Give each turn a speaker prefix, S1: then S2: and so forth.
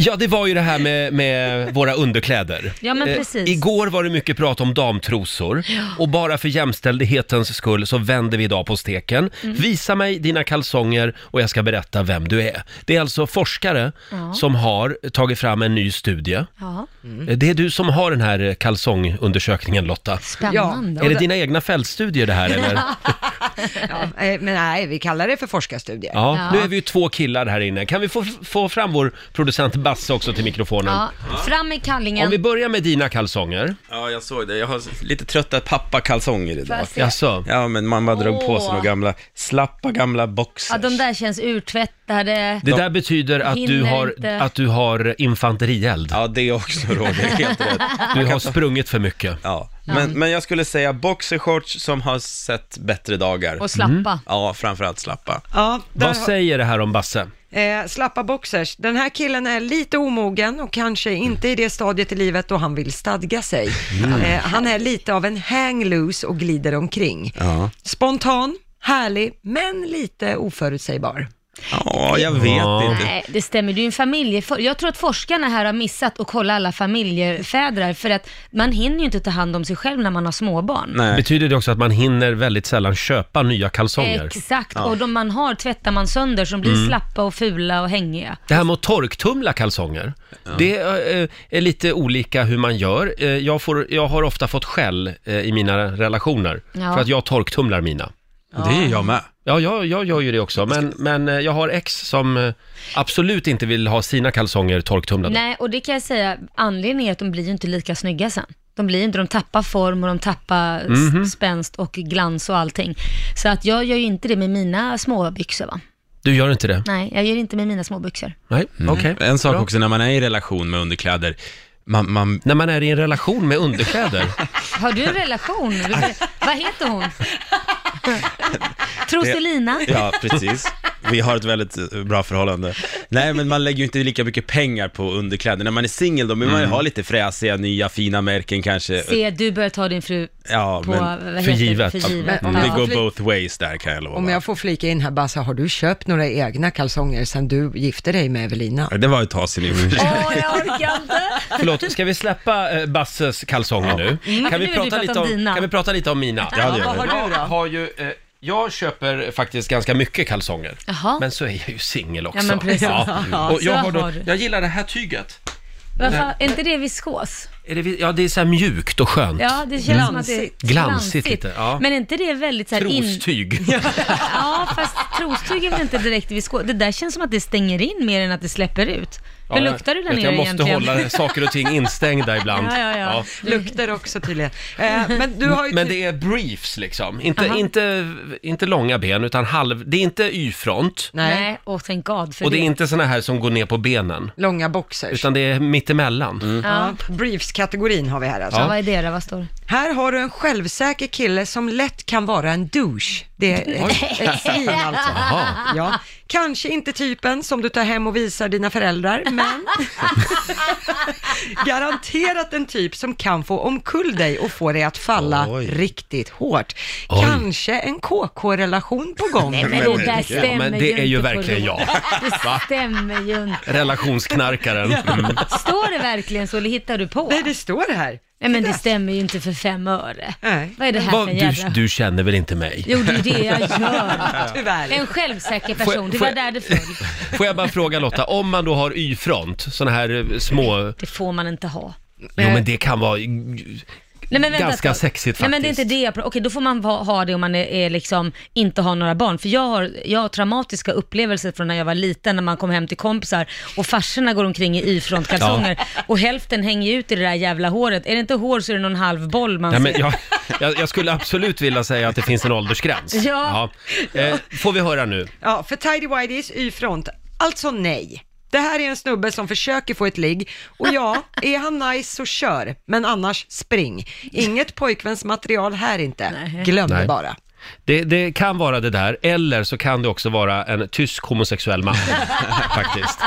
S1: Ja, det var ju det här med, med våra underkläder.
S2: Ja, men
S1: Eh,
S2: precis.
S1: igår var det mycket prat om damtrosor och bara för jämställdhetens skull så vänder vi idag på steken.
S2: Mm.
S1: Visa mig dina kalsonger och jag ska berätta vem du är. Det är alltså forskare
S2: Ja.
S1: som har tagit fram en ny studie.
S2: Ja,
S1: Eh, Det är du som har den här eh, kalsongundersökningen Lotta.
S2: spännande.
S1: Är det dina egna fältstudier det här eller?
S3: Ja, eh, men nej, vi kallar det för forskarstudier.
S1: Ja,
S2: Ja.
S1: nu är vi ju två killar här inne. Kan vi få, få fram vår producent Basse också till mikrofonen?
S2: Ja, fram med kallingen.
S1: Om vi börjar med dina kalsonger.
S4: Ja, jag såg det. Jag har lite trötta pappakalsonger
S2: Får
S4: idag.
S2: jag se?
S1: Jaså?
S4: Ja, men mamma drog på sig
S2: Åh.
S4: några gamla, slappa gamla boxers.
S2: Ja, de där känns urtvättade.
S1: Det där betyder att du,
S2: Hinner
S1: har,
S2: inte.
S1: att du har infanterield.
S4: Ja, det också Roger, helt rätt.
S1: Du har sprungit för mycket.
S4: Ja, men, men jag skulle säga boxershorts som har sett bättre dagar.
S2: Och
S1: Mm.
S2: slappa.
S4: Ja, framförallt slappa.
S3: Ja, där
S1: Vad säger det här om Basse?
S3: har, eh, slappa boxers. Den här killen är lite omogen och kanske inte i det stadiet i livet då han vill stadga sig.
S1: Mm.
S3: Eh, han är lite av en hang loose och glider omkring.
S4: Ja,
S3: Spontan, härlig, men lite oförutsägbar.
S4: ja jag vet
S1: Ja.
S4: inte.
S2: Nej, det stämmer. Du är en familjefor- Jag tror att forskarna här har missat att kolla alla familjefädrar, för att man hinner ju inte ta hand om sig själv när man har småbarn.
S4: Nej.
S1: Betyder det också att man hinner väldigt sällan köpa nya kalsonger?
S2: Exakt, och de man har tvättar man sönder så de blir
S1: Mm.
S2: slappa och fula och hängiga.
S1: Det här med att torktumla kalsonger, det eh, är lite olika hur man gör. Eh, Jag, får, jag har ofta fått skäll eh, i mina relationer
S2: Ja.
S1: för att jag torktumlar mina.
S4: Det är jag med.
S1: Ja, jag, jag gör ju det också, men, men eh, jag har ex som eh, absolut inte vill ha sina kalsonger torktumlade.
S2: Nej, och det kan jag säga, anledningen är att de blir ju inte lika snygga sen. De blir inte, de tappar form och de tappar s- spänst och glans och allting. Så att jag gör ju inte det med mina små byxor va?
S1: Du gör inte det?
S2: Nej, jag gör inte med mina små byxor.
S1: Nej, okej.
S4: Mm. En sak
S1: Bra.
S4: också när man är i relation med underkläder, man, man,
S1: När man är i en relation med underkläder?
S2: Har du en relation? Vill- Vad heter hon? Troselina?
S4: Ja, precis. Vi har ett väldigt eh, bra förhållande. Nej, men man lägger ju inte lika mycket pengar på underkläder. När man är singel då vill man ju ha lite fräsiga, nya, fina märken kanske.
S2: Se, du börjar ta din fru
S4: Ja,
S2: på,
S4: men
S2: vad
S4: Mm.
S2: heter
S1: för
S2: det?
S1: givet.
S2: För givet.
S3: Men-
S4: det
S2: Ja.
S4: går both ways där kan jag
S3: Om
S4: lova.
S3: jag får flika in här, Bassa, har du köpt några egna kalsonger sedan du gifte dig med Evelina?
S4: Ja, Det var ett tag sedan i och för sig.
S2: Åh, jag orkar inte!
S1: Förlåt, ska vi släppa eh, Basses kalsonger nu?
S2: nu
S1: Mm, Kan
S2: vill
S1: vi,
S2: du
S1: prata
S2: prata
S1: lite
S2: om
S1: om,
S2: dina.
S1: kan vi prata lite om mina?
S4: Ja, det
S3: Vad
S4: gör
S3: har
S4: det.
S3: du då?
S1: Jag har ju, eh, jag köper faktiskt ganska mycket kalsonger.
S2: Jaha.
S1: Men så är jag ju singel också.
S2: Ja, men precis.
S1: Och jag,
S2: Så
S1: har då,
S2: har du.
S1: jag gillar det här tyget.
S2: Varför, är inte det viskos?
S1: Är det, vi- ja, det är så här mjukt och skönt.
S2: Ja, det känns som att det är
S3: Glansigt.
S1: Glansigt lite, ja.
S2: Men är inte det väldigt så här in...
S1: Trostyg.
S2: Ja, fast trostyg är väl inte direkt viskos. Det där känns som att det stänger in mer än att det släpper ut. Hur
S1: Ja,
S2: luktar du där
S1: vet,
S2: nere
S1: Jag måste
S2: egentligen?
S1: hålla saker och ting instängda ibland.
S2: Ja, ja, ja.
S3: Luktar också tydligen. Eh, men du har ju...
S1: Men
S3: ty-
S1: det är briefs liksom. Inte,
S2: Aha.
S1: inte, inte långa ben, utan halv... Det är inte Y-front.
S3: Nej,
S2: Nej, åh thank God för
S1: Och det
S2: det.
S1: är inte såna här som går ner på benen.
S3: långa boxers.
S1: Utan det är mittemellan.
S3: Mm.
S2: Ja.
S3: Ja, briefs-kategorin har vi här alltså.
S2: Ja, vad är det då? Vad står det?
S3: Här har du en självsäker kille som lätt kan vara en douche. Det är ett, ett svin alltså. Ja. Kanske inte typen som du tar hem och visar dina föräldrar, men garanterat en typ som kan få omkull dig och få dig att falla
S4: Oj.
S3: riktigt hårt.
S1: Oj.
S3: Kanske en KK-relation på gång.
S2: Nej, men
S4: Men
S2: det där
S4: herregud.
S2: stämmer
S1: Ja, men det
S2: inte
S1: är ju
S2: på
S1: verkligen jag.
S2: rå- Det stämmer ju inte.
S1: Relationsknarkaren. Mm.
S2: Står det verkligen så eller hittar du på?
S3: Nej, det står här.
S2: Nej men det
S3: Titta.
S2: stämmer ju inte för fem öre.
S3: Nej.
S2: Vad är det här
S1: Vad,
S2: för en jävla...
S1: du, du känner väl inte mig?
S2: Jo, det är det jag gör.
S3: Tyvärr.
S2: En självsäker
S1: jag-
S2: person, det
S1: får
S2: var
S1: jag-
S2: där det föll.
S1: Får jag bara fråga Lotta, om man då har Y-front, såna här eh, små...
S2: Det får man inte ha.
S1: Jo men det kan vara...
S2: Nej, men vänta,
S1: Ganska
S2: ett tag.
S1: sexigt
S2: Nej men det är
S1: faktiskt.
S2: inte det jag pratar Okej, då får man va- ha det om man är, är liksom, inte har några barn. För jag har, jag har traumatiska upplevelser från när jag var liten, när man kom hem till kompisar och farsorna går omkring i Y-frontkalsonger och hälften hänger ut i det där jävla håret. Är det inte hår så är det någon halv boll man
S1: Nej, men
S2: ser.
S1: jag, jag, jag skulle absolut vilja säga att det finns en åldersgräns.
S2: Ja.
S1: Ja. Eh, får vi höra nu?
S3: Ja, för Tidy Whiteys Y-front, alltså nej. Det här är en snubbe som försöker få ett ligg och ja, är han nice så kör, men annars spring. Inget pojkvänsmaterial här inte, glöm
S1: Nej.
S3: det bara.
S1: Det, det kan vara det där, eller så kan det också vara en tysk homosexuell man. faktiskt.